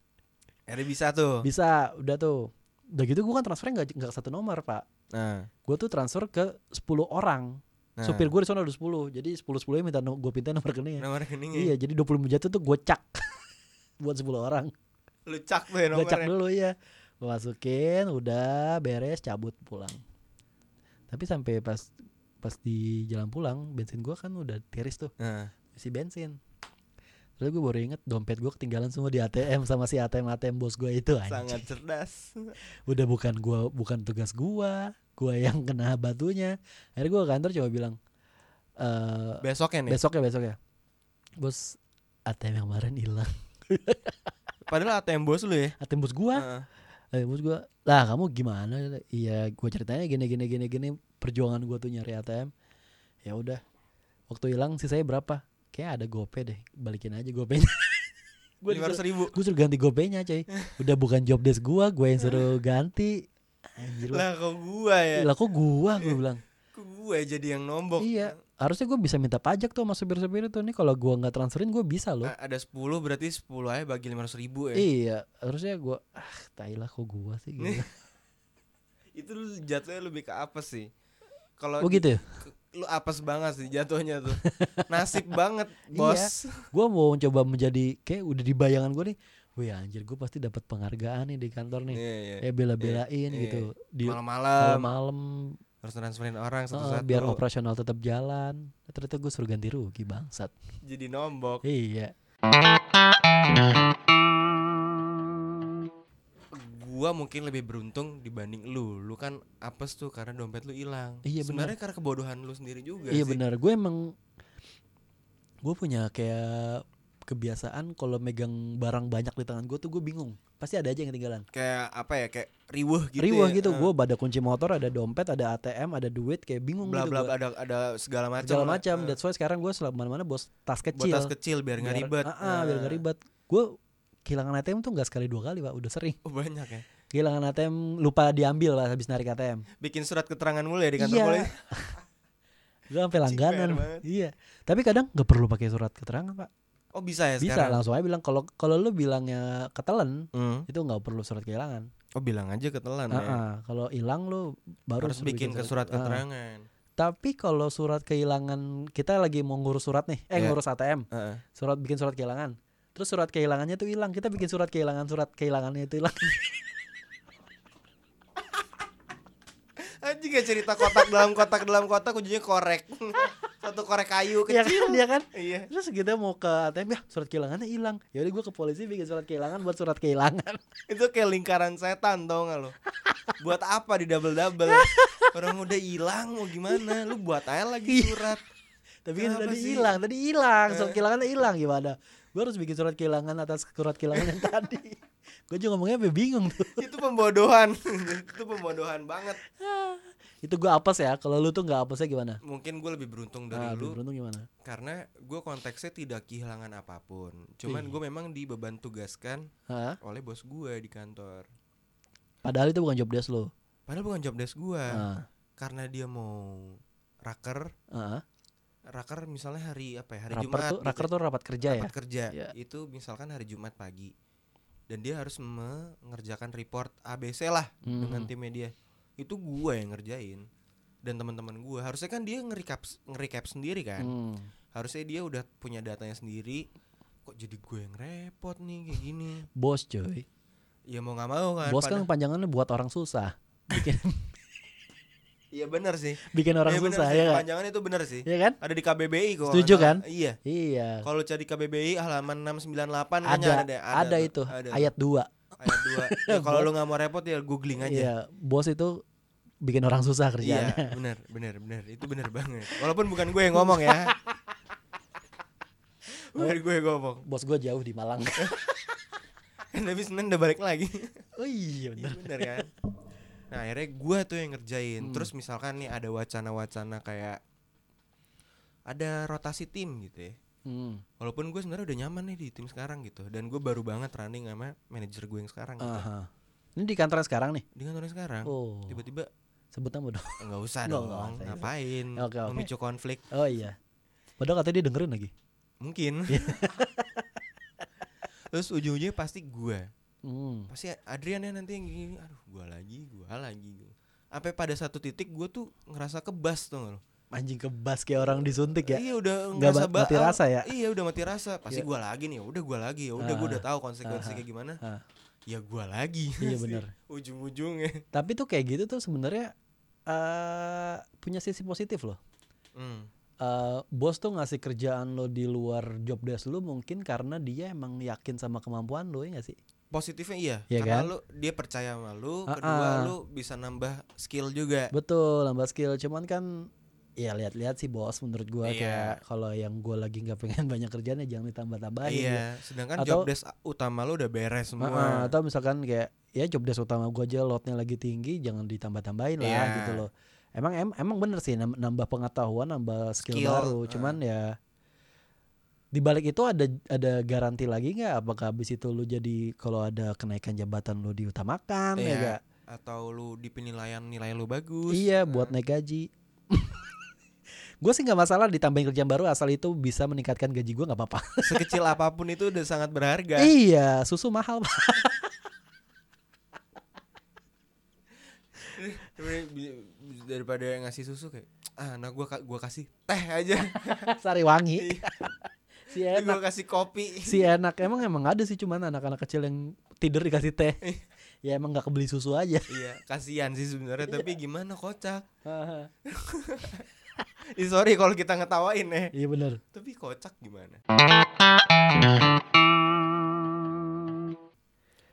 [SPEAKER 1] Akhirnya bisa tuh.
[SPEAKER 2] bisa, udah tuh. Udah gitu gua kan transfernya nggak nggak satu nomor, Pak.
[SPEAKER 1] Nah,
[SPEAKER 2] Gua tuh transfer ke 10 orang.
[SPEAKER 1] nah.
[SPEAKER 2] Supir gua di sana ada 10. Jadi 10 10 minta no- gua pinta nomor rekeningnya.
[SPEAKER 1] nomor rekeningnya.
[SPEAKER 2] Iya, jadi 20 jatuh tuh gua cak buat 10 orang.
[SPEAKER 1] Lu cak tuh ya
[SPEAKER 2] Gua cak
[SPEAKER 1] nomornya.
[SPEAKER 2] dulu ya masukin udah beres cabut pulang tapi sampai pas pas di jalan pulang bensin gua kan udah tiris tuh
[SPEAKER 1] Nah,
[SPEAKER 2] isi bensin terus gue baru inget dompet gua ketinggalan semua di ATM sama si ATM ATM bos gua itu
[SPEAKER 1] sangat
[SPEAKER 2] anjing.
[SPEAKER 1] cerdas.
[SPEAKER 2] udah bukan gua bukan tugas gua gua yang kena batunya akhirnya gua ke kantor coba bilang eh
[SPEAKER 1] Besoknya nih.
[SPEAKER 2] besok ya besok ya bos ATM yang kemarin hilang
[SPEAKER 1] Padahal ATM bos lu ya.
[SPEAKER 2] ATM bos gua
[SPEAKER 1] Heeh.
[SPEAKER 2] Eh, terus gue lah kamu gimana iya gue ceritanya gini gini gini gini perjuangan gue tuh nyari ATM ya udah waktu hilang sisanya berapa kayak ada gopay deh balikin aja gopaynya gue
[SPEAKER 1] Lima ratus
[SPEAKER 2] disuruh,
[SPEAKER 1] ribu.
[SPEAKER 2] gua suruh ganti gopaynya coy udah bukan job desk gue gue yang suruh ganti anjir lah,
[SPEAKER 1] Lah kok gua ya.
[SPEAKER 2] lah kok gue gue bilang
[SPEAKER 1] Kok gua ya jadi yang nombok.
[SPEAKER 2] iya harusnya gue bisa minta pajak tuh sama supir-supir itu nih kalau gue nggak transferin gue bisa loh
[SPEAKER 1] A- Nah, Ada 10 berarti 10 aja bagi 500 ribu ya.
[SPEAKER 2] iya harusnya gue ah tai lah kok gue sih Gitu. gila.
[SPEAKER 1] Itu lu jatuhnya lebih ke apa sih? Kalau
[SPEAKER 2] oh
[SPEAKER 1] di-
[SPEAKER 2] gitu ya?
[SPEAKER 1] ke- lu apes banget sih jatuhnya tuh. Nasib banget,
[SPEAKER 2] Iya.
[SPEAKER 1] Bos.
[SPEAKER 2] gue mau coba menjadi kayak udah di bayangan gue nih wih anjir gue pasti dapat penghargaan nih di kantor nih
[SPEAKER 1] Iya, iya.
[SPEAKER 2] ya bela-belain
[SPEAKER 1] iya.
[SPEAKER 2] gitu di
[SPEAKER 1] Malam-malam
[SPEAKER 2] malam-malam
[SPEAKER 1] harus transferin orang
[SPEAKER 2] eh,
[SPEAKER 1] satu-satu.
[SPEAKER 2] biar operasional tetap jalan ternyata gue suruh ganti rugi bangsat
[SPEAKER 1] jadi nombok.
[SPEAKER 2] iya
[SPEAKER 1] gua mungkin lebih beruntung dibanding lu. Lu kan apes tuh karena dompet lu hilang.
[SPEAKER 2] Iya, benar.
[SPEAKER 1] Sebenarnya karena kebodohan lu sendiri juga
[SPEAKER 2] iya
[SPEAKER 1] sih.
[SPEAKER 2] benar gue emang gue punya kayak kebiasaan kalau megang barang banyak di tangan gue tuh gue bingung pasti ada aja yang ketinggalan
[SPEAKER 1] Kayak apa ya? Kayak riweh gitu.
[SPEAKER 2] riwah
[SPEAKER 1] ya.
[SPEAKER 2] gitu
[SPEAKER 1] Eh,
[SPEAKER 2] gue ada kunci motor ada dompet ada ATM ada duit kayak bingung
[SPEAKER 1] bla
[SPEAKER 2] gitu
[SPEAKER 1] bla bla,
[SPEAKER 2] gua.
[SPEAKER 1] ada ada segala macam.
[SPEAKER 2] segala
[SPEAKER 1] lah.
[SPEAKER 2] macam
[SPEAKER 1] Eh,
[SPEAKER 2] that's why sekarang gue selama mana-mana bos tas kecil
[SPEAKER 1] Botas kecil biar nggak ribet.
[SPEAKER 2] Ah, ah, biar nggak
[SPEAKER 1] Eh,
[SPEAKER 2] ribet. Gue kehilangan ATM tuh nggak sekali dua kali pak, udah sering.
[SPEAKER 1] Oh, banyak ya.
[SPEAKER 2] Kehilangan ATM lupa diambil lah habis narik ATM.
[SPEAKER 1] Bikin surat keterangan mulu ya di kantor
[SPEAKER 2] Iya.
[SPEAKER 1] polisi.
[SPEAKER 2] Gue sampai langganan.
[SPEAKER 1] banget.
[SPEAKER 2] Iya. Tapi kadang nggak perlu pakai surat keterangan pak.
[SPEAKER 1] Oh, bisa ya
[SPEAKER 2] Bisa
[SPEAKER 1] sekarang.
[SPEAKER 2] langsung aja bilang kalau kalau lu bilangnya ketelen
[SPEAKER 1] Hmm.
[SPEAKER 2] itu nggak perlu surat kehilangan.
[SPEAKER 1] Oh, bilang aja ketelan
[SPEAKER 2] Ah,
[SPEAKER 1] ya.
[SPEAKER 2] ah. kalau hilang lu baru
[SPEAKER 1] Harus
[SPEAKER 2] lu
[SPEAKER 1] bikin ke surat
[SPEAKER 2] ah.
[SPEAKER 1] keterangan.
[SPEAKER 2] Tapi kalau surat kehilangan kita lagi mau ngurus surat nih, eh
[SPEAKER 1] Iya.
[SPEAKER 2] ngurus ATM.
[SPEAKER 1] Heeh.
[SPEAKER 2] surat bikin surat kehilangan terus surat kehilangannya tuh hilang kita bikin surat kehilangan surat kehilangannya itu hilang Iya ah.
[SPEAKER 1] Anjing ya cerita kotak dalam kotak dalam kotak ujungnya korek. Satu korek kayu
[SPEAKER 2] Iya
[SPEAKER 1] kecil.
[SPEAKER 2] kan dia kan
[SPEAKER 1] Iya.
[SPEAKER 2] terus kita mau ke ATM ya surat kehilangannya hilang ya udah gue ke polisi bikin surat kehilangan buat surat kehilangan
[SPEAKER 1] itu kayak lingkaran setan tau gak lo buat apa di double double orang udah hilang mau gimana lu buat aja lagi surat
[SPEAKER 2] Iya. tapi kan
[SPEAKER 1] Kenapa
[SPEAKER 2] tadi
[SPEAKER 1] sih?
[SPEAKER 2] hilang tadi hilang surat
[SPEAKER 1] Eh.
[SPEAKER 2] kehilangannya hilang gimana gue harus bikin surat kehilangan atas surat kehilangan yang tadi gue juga ngomongnya sampai bingung tuh
[SPEAKER 1] itu pembodohan itu pembodohan banget
[SPEAKER 2] itu gue apes ya kalau lu tuh nggak apesnya gimana
[SPEAKER 1] mungkin gue lebih beruntung dari
[SPEAKER 2] nah,
[SPEAKER 1] lu
[SPEAKER 2] lebih beruntung gimana
[SPEAKER 1] karena gue konteksnya tidak kehilangan apapun cuman
[SPEAKER 2] Ih.
[SPEAKER 1] gue memang dibeban tugaskan
[SPEAKER 2] Hah?
[SPEAKER 1] oleh bos gue di kantor
[SPEAKER 2] padahal itu bukan job desk lo
[SPEAKER 1] padahal bukan job desk gue
[SPEAKER 2] ah
[SPEAKER 1] karena dia mau raker
[SPEAKER 2] ah.
[SPEAKER 1] raker misalnya hari apa ya hari
[SPEAKER 2] raker
[SPEAKER 1] jumat
[SPEAKER 2] tuh
[SPEAKER 1] gitu.
[SPEAKER 2] raker tuh rapat kerja ya
[SPEAKER 1] rapat kerja
[SPEAKER 2] Iya.
[SPEAKER 1] itu misalkan hari Jumat pagi dan dia harus mengerjakan report ABC lah
[SPEAKER 2] Hmm.
[SPEAKER 1] dengan timnya dia itu gue yang ngerjain dan teman-teman gue harusnya kan dia nge-recap nge-recap sendiri kan
[SPEAKER 2] Hmm.
[SPEAKER 1] harusnya dia udah punya datanya sendiri kok jadi gue yang repot nih kayak gini
[SPEAKER 2] bos coy
[SPEAKER 1] ya mau nggak mau kan
[SPEAKER 2] bos kan
[SPEAKER 1] pada-
[SPEAKER 2] panjangannya buat orang susah bikin
[SPEAKER 1] iya benar sih
[SPEAKER 2] bikin orang
[SPEAKER 1] Iya, benar
[SPEAKER 2] susah
[SPEAKER 1] sih.
[SPEAKER 2] ya kan
[SPEAKER 1] panjangannya itu benar sih
[SPEAKER 2] ya kan
[SPEAKER 1] ada di KBBI kok
[SPEAKER 2] Setuju kan?
[SPEAKER 1] iya
[SPEAKER 2] iya
[SPEAKER 1] kalau cari KBBI halaman 698 kayaknya
[SPEAKER 2] ada
[SPEAKER 1] deh,
[SPEAKER 2] ada,
[SPEAKER 1] tuh,
[SPEAKER 2] itu
[SPEAKER 1] ada tuh.
[SPEAKER 2] ayat 2
[SPEAKER 1] ayat 2 ya, kalau lu nggak mau repot ya googling aja
[SPEAKER 2] Iya, bos itu bikin orang susah
[SPEAKER 1] Iya,
[SPEAKER 2] kerjaannya.
[SPEAKER 1] benar, benar, benar. Itu benar banget. Walaupun bukan gue yang ngomong ya. Bukan gue yang ngomong.
[SPEAKER 2] Bos gue jauh di Malang.
[SPEAKER 1] Tapi Senin udah balik lagi.
[SPEAKER 2] oh iya
[SPEAKER 1] Iya,
[SPEAKER 2] bener.
[SPEAKER 1] bener kan? Nah, akhirnya gue tuh yang ngerjain.
[SPEAKER 2] Hmm.
[SPEAKER 1] Terus misalkan nih ada wacana-wacana kayak ada rotasi tim gitu ya.
[SPEAKER 2] Hmm.
[SPEAKER 1] Walaupun gue sebenarnya udah nyaman nih di tim sekarang gitu dan gue baru banget running sama manajer gue yang sekarang gitu.
[SPEAKER 2] aha. Ini di kantor sekarang nih.
[SPEAKER 1] Dengan orang sekarang
[SPEAKER 2] Ah. Oh.
[SPEAKER 1] tiba-tiba
[SPEAKER 2] Sebut nama dong.
[SPEAKER 1] nggak usah
[SPEAKER 2] Nggak,
[SPEAKER 1] dong,
[SPEAKER 2] nggak usah itu.
[SPEAKER 1] ngapain
[SPEAKER 2] Oke, oke.
[SPEAKER 1] memicu konflik
[SPEAKER 2] Oh iya. Padahal katanya dia dengerin lagi.
[SPEAKER 1] mungkin.
[SPEAKER 2] Iya.
[SPEAKER 1] Terus ujung-ujungnya pasti gue
[SPEAKER 2] Hmm.
[SPEAKER 1] pasti Adrian ya nanti yang gini, gini. aduh gue lagi gue lagi sampai pada satu titik gue tuh ngerasa kebas tuh lo
[SPEAKER 2] Anjing kebas kayak orang disuntik ya.
[SPEAKER 1] iya udah
[SPEAKER 2] Nggak
[SPEAKER 1] ngerasa
[SPEAKER 2] ba- mati
[SPEAKER 1] baal.
[SPEAKER 2] rasa ya?
[SPEAKER 1] iya udah mati rasa pasti
[SPEAKER 2] Iya.
[SPEAKER 1] gue lagi nih udah gue lagi ya udah gue udah tahu konsekuensinya kayak gimana
[SPEAKER 2] Ah.
[SPEAKER 1] ya gue lagi
[SPEAKER 2] Iya,
[SPEAKER 1] sih.
[SPEAKER 2] bener.
[SPEAKER 1] ujung-ujungnya
[SPEAKER 2] Tapi tuh kayak gitu tuh sebenarnya eh punya sisi positif loh.
[SPEAKER 1] hmm.
[SPEAKER 2] Eh, bos tuh ngasih kerjaan lo di luar job desk lo mungkin karena dia emang yakin sama kemampuan lo ya gak sih?
[SPEAKER 1] positifnya iya
[SPEAKER 2] Iya
[SPEAKER 1] karena
[SPEAKER 2] kan?
[SPEAKER 1] lu dia percaya sama lu
[SPEAKER 2] Ah,
[SPEAKER 1] kedua
[SPEAKER 2] ah.
[SPEAKER 1] lu bisa nambah skill juga
[SPEAKER 2] Betul, nambah skill. Cuman kan ya lihat-lihat sih bos menurut gua
[SPEAKER 1] Iya.
[SPEAKER 2] kayak kalau yang gua lagi nggak pengen banyak kerjaan ya jangan ditambah-tambahin.
[SPEAKER 1] iya
[SPEAKER 2] ya.
[SPEAKER 1] sedangkan
[SPEAKER 2] Atau- Ah,
[SPEAKER 1] job desk utama lu udah beres semua
[SPEAKER 2] Heeh, atau misalkan kayak ya job desk utama gua aja lotnya lagi tinggi jangan ditambah-tambahin lah
[SPEAKER 1] Iya.
[SPEAKER 2] gitu loh. Emang em- emang bener sih nam- nambah pengetahuan, nambah skill,
[SPEAKER 1] Skill,
[SPEAKER 2] baru.
[SPEAKER 1] heeh.
[SPEAKER 2] Cuman ya di balik itu ada ada garansi lagi nggak apakah habis itu lu jadi kalau ada kenaikan jabatan lu diutamakan
[SPEAKER 1] Iya.
[SPEAKER 2] ya nggak?
[SPEAKER 1] atau lu di penilaian nilai lu bagus
[SPEAKER 2] Iya, buat naik gaji. gue sih nggak masalah ditambahin kerjaan baru asal itu bisa meningkatkan gaji gue nggak apa-apa.
[SPEAKER 1] sekecil apapun itu udah sangat berharga
[SPEAKER 2] iya, susu mahal. Pak.
[SPEAKER 1] daripada ngasih susu kayak ah anak gua ka- gua kasih teh aja
[SPEAKER 2] Sari wangi. si
[SPEAKER 1] gua
[SPEAKER 2] enak,
[SPEAKER 1] kasih kopi
[SPEAKER 2] si enak. Emang emang ada sih cuman anak-anak kecil yang tidur dikasih teh. ya emang nggak kebeli susu aja.
[SPEAKER 1] iya kasihan sih sebenarnya tapi gimana kocak
[SPEAKER 2] iya
[SPEAKER 1] Ih, sorry kalau kita ngetawain ya
[SPEAKER 2] Iya, bener.
[SPEAKER 1] tapi kocak gimana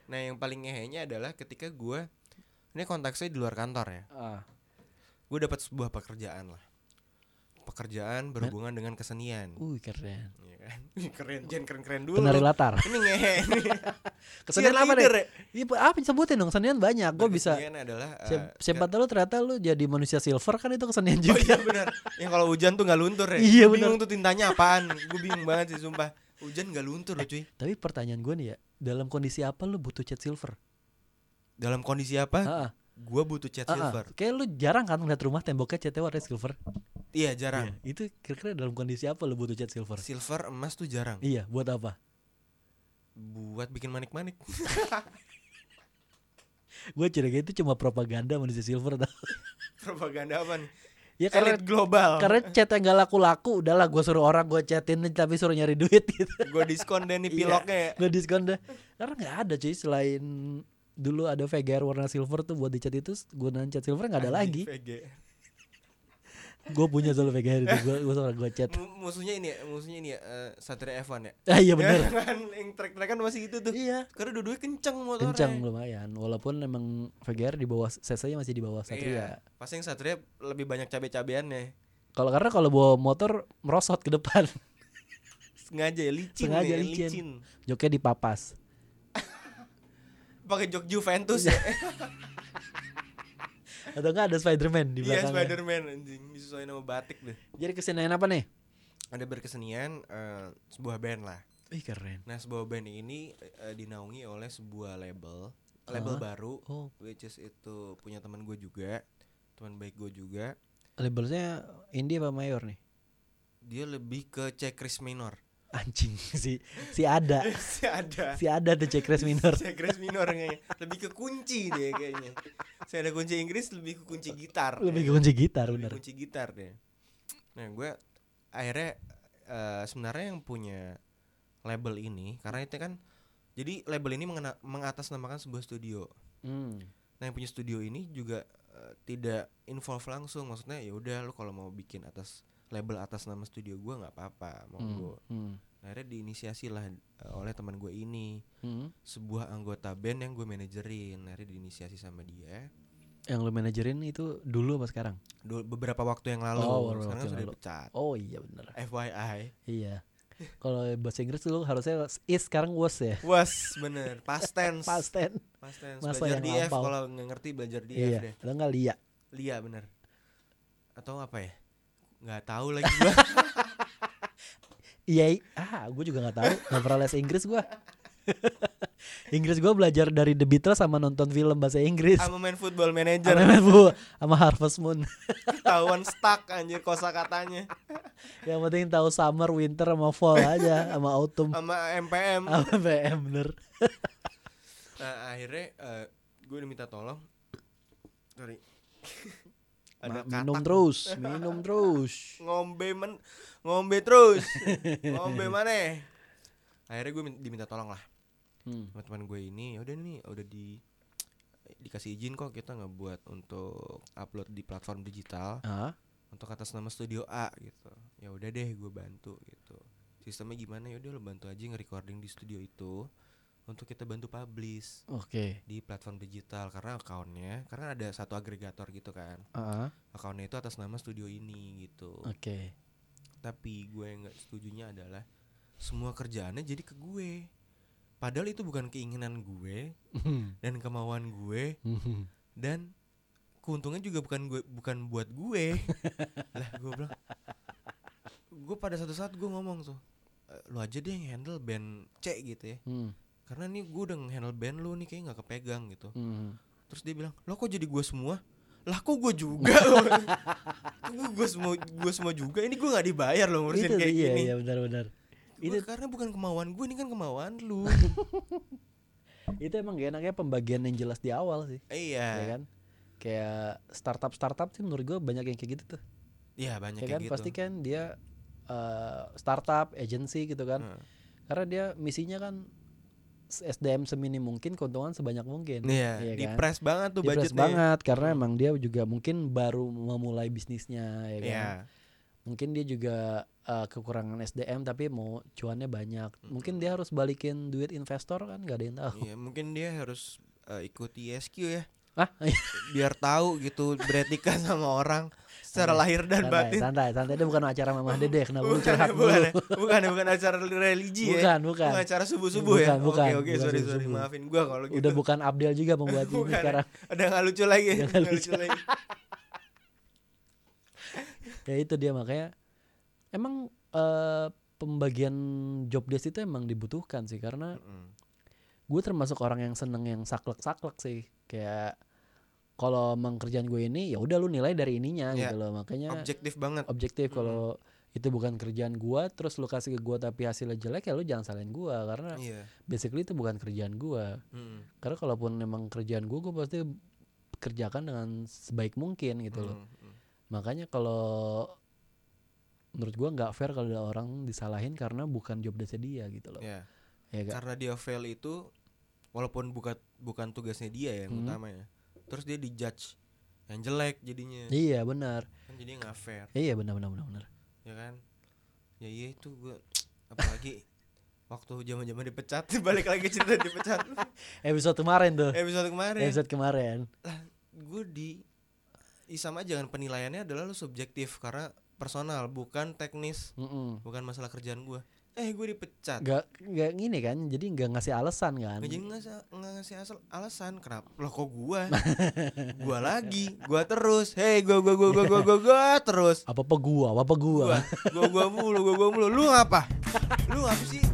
[SPEAKER 1] nah yang paling ngehenya adalah ketika gua ini konteksnya di luar kantor ya
[SPEAKER 2] Ah.
[SPEAKER 1] gue dapat sebuah pekerjaan lah pekerjaan berhubungan
[SPEAKER 2] Nah.
[SPEAKER 1] dengan kesenian
[SPEAKER 2] Uy keren.
[SPEAKER 1] Iya kan? Ih, keren jangan keren keren dulu
[SPEAKER 2] Penari latar.
[SPEAKER 1] ini ngehe nih.
[SPEAKER 2] Kesenian apa
[SPEAKER 1] Cheerleader
[SPEAKER 2] deh?
[SPEAKER 1] ya?
[SPEAKER 2] Iya, apa sebutin dong? Kesenian banyak. Gue bisa. Iya.
[SPEAKER 1] Kesenian adalah eh,
[SPEAKER 2] Siap-
[SPEAKER 1] ke-
[SPEAKER 2] Siapa tahu ternyata lu jadi manusia silver kan itu kesenian
[SPEAKER 1] Oh
[SPEAKER 2] juga.
[SPEAKER 1] iya benar. Yang kalau hujan tuh nggak luntur ya.
[SPEAKER 2] Iya,
[SPEAKER 1] Gua Bingung tuh tintanya apaan. Gue bingung banget sih sumpah. Hujan nggak luntur loh cuy.
[SPEAKER 2] Tapi pertanyaan gue nih ya, dalam kondisi apa lu butuh cat silver?
[SPEAKER 1] Dalam kondisi apa?
[SPEAKER 2] Heeh.
[SPEAKER 1] Gue butuh cat
[SPEAKER 2] Ah,
[SPEAKER 1] silver.
[SPEAKER 2] Kayak lu jarang kan ngeliat rumah temboknya catnya warna silver.
[SPEAKER 1] Iya jarang.
[SPEAKER 2] Itu kira-kira dalam kondisi apa lu butuh cat silver?
[SPEAKER 1] Silver emas tuh jarang.
[SPEAKER 2] Iya, buat apa?
[SPEAKER 1] Buat bikin manik-manik.
[SPEAKER 2] Gue curiga itu cuma propaganda manusia silver. tau.
[SPEAKER 1] Propaganda apa nih?
[SPEAKER 2] ya karena
[SPEAKER 1] Elit global.
[SPEAKER 2] karena cat yang gak laku-laku, udahlah gue suruh orang gue chatin tapi suruh nyari duit gitu.
[SPEAKER 1] Gue diskon deh nih
[SPEAKER 2] Iya.
[SPEAKER 1] piloknya. ya.
[SPEAKER 2] Gue diskon dah. Karena nggak ada cuy selain dulu ada VGR warna silver tuh buat dicat itu gunaan cat silver nggak ada lagi
[SPEAKER 1] Anjing, VG.
[SPEAKER 2] gue punya selalu VGR itu gue gue seorang gue cat
[SPEAKER 1] Mu- musuhnya ini ya, musuhnya ini ya, eh, Satria F1 ya.
[SPEAKER 2] ah
[SPEAKER 1] Ya
[SPEAKER 2] iya bener
[SPEAKER 1] kan, yang trek-trek kan masih itu tuh.
[SPEAKER 2] Iya.
[SPEAKER 1] Karena dua-duanya kenceng motornya. Iya.
[SPEAKER 2] Kencang lumayan. Walaupun emang VGR di bawah CC-nya masih di bawah Satria.
[SPEAKER 1] Iya. Pasti yang Satria lebih banyak cabe-cabeannya.
[SPEAKER 2] Kalau karena kalau bawa motor merosot ke depan,
[SPEAKER 1] Sengaja ya licin.
[SPEAKER 2] sengaja
[SPEAKER 1] ya,
[SPEAKER 2] licin. Joknya dipapas.
[SPEAKER 1] Pakai jok Juventus
[SPEAKER 2] Iya,
[SPEAKER 1] ya.
[SPEAKER 2] Atau enggak ada Spider-Man di
[SPEAKER 1] Iya,
[SPEAKER 2] belakangnya.
[SPEAKER 1] Spiderman anjing, disesuaiin sama batik deh.
[SPEAKER 2] Jadi kesenian apa nih?
[SPEAKER 1] Ada berkesenian eh, sebuah band lah.
[SPEAKER 2] Ih keren.
[SPEAKER 1] Nah, sebuah band ini eh, dinaungi oleh sebuah label, label
[SPEAKER 2] Ah.
[SPEAKER 1] baru
[SPEAKER 2] Oh,
[SPEAKER 1] which is itu punya teman gue juga, teman baik gue juga.
[SPEAKER 2] labelnya indie apa mayor nih?
[SPEAKER 1] Dia lebih ke checklist minor.
[SPEAKER 2] Anjing si si ada.
[SPEAKER 1] Masih ada.
[SPEAKER 2] si ada tuh Jack Race minor.
[SPEAKER 1] Checklist minor kayaknya. Lebih ke kunci dia kayaknya. Saya ada kunci Inggris lebih ke kunci gitar.
[SPEAKER 2] Lebih ke kunci gitar
[SPEAKER 1] Lebih
[SPEAKER 2] bener.
[SPEAKER 1] kunci gitar deh. Nah gue akhirnya eh, sebenarnya yang punya label ini karena itu kan jadi label ini mengena, mengatasnamakan sebuah studio.
[SPEAKER 2] Hmm.
[SPEAKER 1] Nah, yang punya studio ini juga eh, tidak involve langsung. Maksudnya ya udah lu kalau mau bikin atas label atas nama studio gua nggak apa-apa, mau
[SPEAKER 2] Hmm.
[SPEAKER 1] gua.
[SPEAKER 2] Hmm.
[SPEAKER 1] Akhirnya diinisiasi lah eh, oleh teman gue ini
[SPEAKER 2] Hmm.
[SPEAKER 1] sebuah anggota band yang gue manajerin akhirnya diinisiasi sama dia
[SPEAKER 2] Yang lu manajerin itu dulu apa sekarang?
[SPEAKER 1] Dul- beberapa waktu yang lalu
[SPEAKER 2] Oh, beberapa
[SPEAKER 1] sekarang
[SPEAKER 2] waktu
[SPEAKER 1] kan
[SPEAKER 2] yang
[SPEAKER 1] sudah
[SPEAKER 2] lalu.
[SPEAKER 1] dipecat
[SPEAKER 2] Oh iya benar.
[SPEAKER 1] FYI
[SPEAKER 2] Iya. Kalau bahasa Inggris lu harusnya is sekarang was ya.
[SPEAKER 1] was bener past tense
[SPEAKER 2] Past tense.
[SPEAKER 1] Past tense.
[SPEAKER 2] Masa
[SPEAKER 1] belajar
[SPEAKER 2] yang
[SPEAKER 1] di F
[SPEAKER 2] lampau.
[SPEAKER 1] kalau nggak ngerti belajar di F deh
[SPEAKER 2] Iya. Lo nggak lihat.
[SPEAKER 1] Lia bener atau apa ya nggak tahu lagi gua
[SPEAKER 2] Iya. i- Ah, gue juga nggak tahu. Nggak pernah les Inggris gue. Inggris gue belajar dari The Beatles sama nonton film bahasa Inggris.
[SPEAKER 1] sama main football manager
[SPEAKER 2] Sama, Bu, sama Harvest Moon.
[SPEAKER 1] ketahuan stuck anjir kosa katanya
[SPEAKER 2] Yang penting tahu summer, winter, sama fall aja, sama autumn,
[SPEAKER 1] sama MPM
[SPEAKER 2] sama BM bener.
[SPEAKER 1] Nah, akhirnya gue diminta tolong. Sorry.
[SPEAKER 2] Ma-
[SPEAKER 1] Ada
[SPEAKER 2] minum
[SPEAKER 1] katak
[SPEAKER 2] terus, minum terus.
[SPEAKER 1] ngombe men ngombe terus. ngombe mana? Akhirnya gue diminta tolong lah
[SPEAKER 2] Hmm.
[SPEAKER 1] sama teman gue ini. Ya Udah nih, udah di dikasih izin kok kita ngebuat untuk upload di platform digital
[SPEAKER 2] Ah,
[SPEAKER 1] untuk atas nama studio A gitu. Ya udah deh gue bantu gitu. Sistemnya gimana ya udah lo bantu aja nge-recording di studio itu untuk kita bantu publish
[SPEAKER 2] oke.
[SPEAKER 1] di platform digital karena akunnya karena ada satu agregator gitu kan
[SPEAKER 2] Ah,
[SPEAKER 1] akunnya itu atas nama studio ini gitu
[SPEAKER 2] oke.
[SPEAKER 1] tapi gue yang nggak setujunya adalah semua kerjaannya jadi ke gue padahal itu bukan keinginan gue
[SPEAKER 2] Mhm.
[SPEAKER 1] dan kemauan gue
[SPEAKER 2] Mhm.
[SPEAKER 1] dan keuntungan juga bukan gue bukan buat gue lah gue bilang gue pada satu saat gue ngomong tuh "Eh, lu aja deh yang handle band C gitu ya
[SPEAKER 2] Hmm.
[SPEAKER 1] karena nih gue udah handle band lu nih kayak nggak kepegang gitu
[SPEAKER 2] Hmm.
[SPEAKER 1] Terus dia bilang, lo kok jadi gue semua? Lah kok gue juga? gue gue semua gue semua juga. Ini gue nggak dibayar loh ngurusin
[SPEAKER 2] Itu
[SPEAKER 1] kayak
[SPEAKER 2] iya,
[SPEAKER 1] gini.
[SPEAKER 2] iya benar-benar.
[SPEAKER 1] Gua-
[SPEAKER 2] Itu-
[SPEAKER 1] karena bukan kemauan gue, ini kan kemauan lu.
[SPEAKER 2] Itu emang gak enaknya pembagian yang jelas di awal sih,
[SPEAKER 1] iya.
[SPEAKER 2] ya kan? Kayak startup startup sih menurut gue banyak yang kayak gitu tuh.
[SPEAKER 1] Iya banyak
[SPEAKER 2] Ya
[SPEAKER 1] kayak
[SPEAKER 2] kan
[SPEAKER 1] gitu.
[SPEAKER 2] pasti kan dia eh, startup, agency gitu kan.
[SPEAKER 1] Heeh.
[SPEAKER 2] Karena dia misinya kan SDM semini mungkin, keuntungan sebanyak mungkin.
[SPEAKER 1] Iya,
[SPEAKER 2] Iya kan?
[SPEAKER 1] dipres banget tuh
[SPEAKER 2] Dipres
[SPEAKER 1] budgetnya. Hmm.
[SPEAKER 2] banget karena emang dia juga mungkin baru memulai bisnisnya ya kan.
[SPEAKER 1] Iya.
[SPEAKER 2] Mungkin dia juga eh, kekurangan SDM tapi mau cuannya banyak.
[SPEAKER 1] Hmm.
[SPEAKER 2] Mungkin dia harus balikin duit investor kan gak ada yang tahu.
[SPEAKER 1] Iya, mungkin dia harus eh, ikuti ISQ ya,
[SPEAKER 2] Hah?
[SPEAKER 1] biar tahu gitu beretika sama orang
[SPEAKER 2] Iya.
[SPEAKER 1] secara lahir dan
[SPEAKER 2] santai,
[SPEAKER 1] batin.
[SPEAKER 2] santai, santai. Dia bukan acara Mamah Dede, kenapa lu
[SPEAKER 1] Bukan,
[SPEAKER 2] curhat dulu?
[SPEAKER 1] bukan, ya, bukan, bukan acara religi ya.
[SPEAKER 2] Bukan, bukan.
[SPEAKER 1] Bukan acara subuh-subuh ya.
[SPEAKER 2] Bukan, bukan,
[SPEAKER 1] Oke, oke, sorry,
[SPEAKER 2] bukan
[SPEAKER 1] sorry.
[SPEAKER 2] subuh-subuh.
[SPEAKER 1] Maafin gua kalau gitu.
[SPEAKER 2] Udah bukan Abdel juga pembuat ini
[SPEAKER 1] Bukan,
[SPEAKER 2] sekarang.
[SPEAKER 1] Udah nggak lucu lagi.
[SPEAKER 2] Udah nggak
[SPEAKER 1] nggak lucu lagi.
[SPEAKER 2] Ya itu dia makanya emang eh, pembagian job desk itu emang dibutuhkan sih karena
[SPEAKER 1] Mm-mm.
[SPEAKER 2] gue termasuk orang yang seneng yang saklek-saklek sih kayak kalau emang kerjaan gue ini ya udah lu nilai dari ininya
[SPEAKER 1] Iya.
[SPEAKER 2] gitu loh makanya
[SPEAKER 1] Objektif Hmm. banget.
[SPEAKER 2] objektif kalau itu bukan kerjaan gua terus lu kasih ke gua tapi hasilnya jelek ya lu jangan salin gua karena
[SPEAKER 1] Iya.
[SPEAKER 2] basically itu bukan kerjaan gua
[SPEAKER 1] Mm-mm.
[SPEAKER 2] karena kalaupun memang kerjaan gua gua pasti kerjakan dengan sebaik mungkin
[SPEAKER 1] Hmm.
[SPEAKER 2] gitu loh
[SPEAKER 1] Mm-mm.
[SPEAKER 2] makanya kalau menurut gua nggak fair kalau ada orang disalahin karena bukan job desk dia gitu loh
[SPEAKER 1] Iya.
[SPEAKER 2] ya gak?
[SPEAKER 1] Karena dia fail itu walaupun bukan bukan tugasnya dia ya yang
[SPEAKER 2] Hmm.
[SPEAKER 1] utama ya. Terus dia dijudge yang jelek jadinya.
[SPEAKER 2] iya benar
[SPEAKER 1] Kan jadi nggak fair,
[SPEAKER 2] iya benar benar benar benar
[SPEAKER 1] ya kan? Ya iya itu gua apalagi waktu zaman-zaman dipecat balik lagi cerita dipecat
[SPEAKER 2] episode kemarin tuh
[SPEAKER 1] episode kemarin
[SPEAKER 2] episode kemarin
[SPEAKER 1] gue di i sama aja kan penilaiannya adalah lu subjektif karena personal bukan teknis
[SPEAKER 2] Mm-mm.
[SPEAKER 1] bukan masalah kerjaan gue eh gue dipecat
[SPEAKER 2] nggak nggak gini kan jadi nggak ngasih alasan kan
[SPEAKER 1] nggak jadi ngasih, nggak ngasih asal alasan kenapa lo kok gue gue lagi gue terus hei gue gue gue gue gue gue terus
[SPEAKER 2] apa apa gua apa apa gua
[SPEAKER 1] gue gue gue mulu gue gue mulu lu apa lu apa sih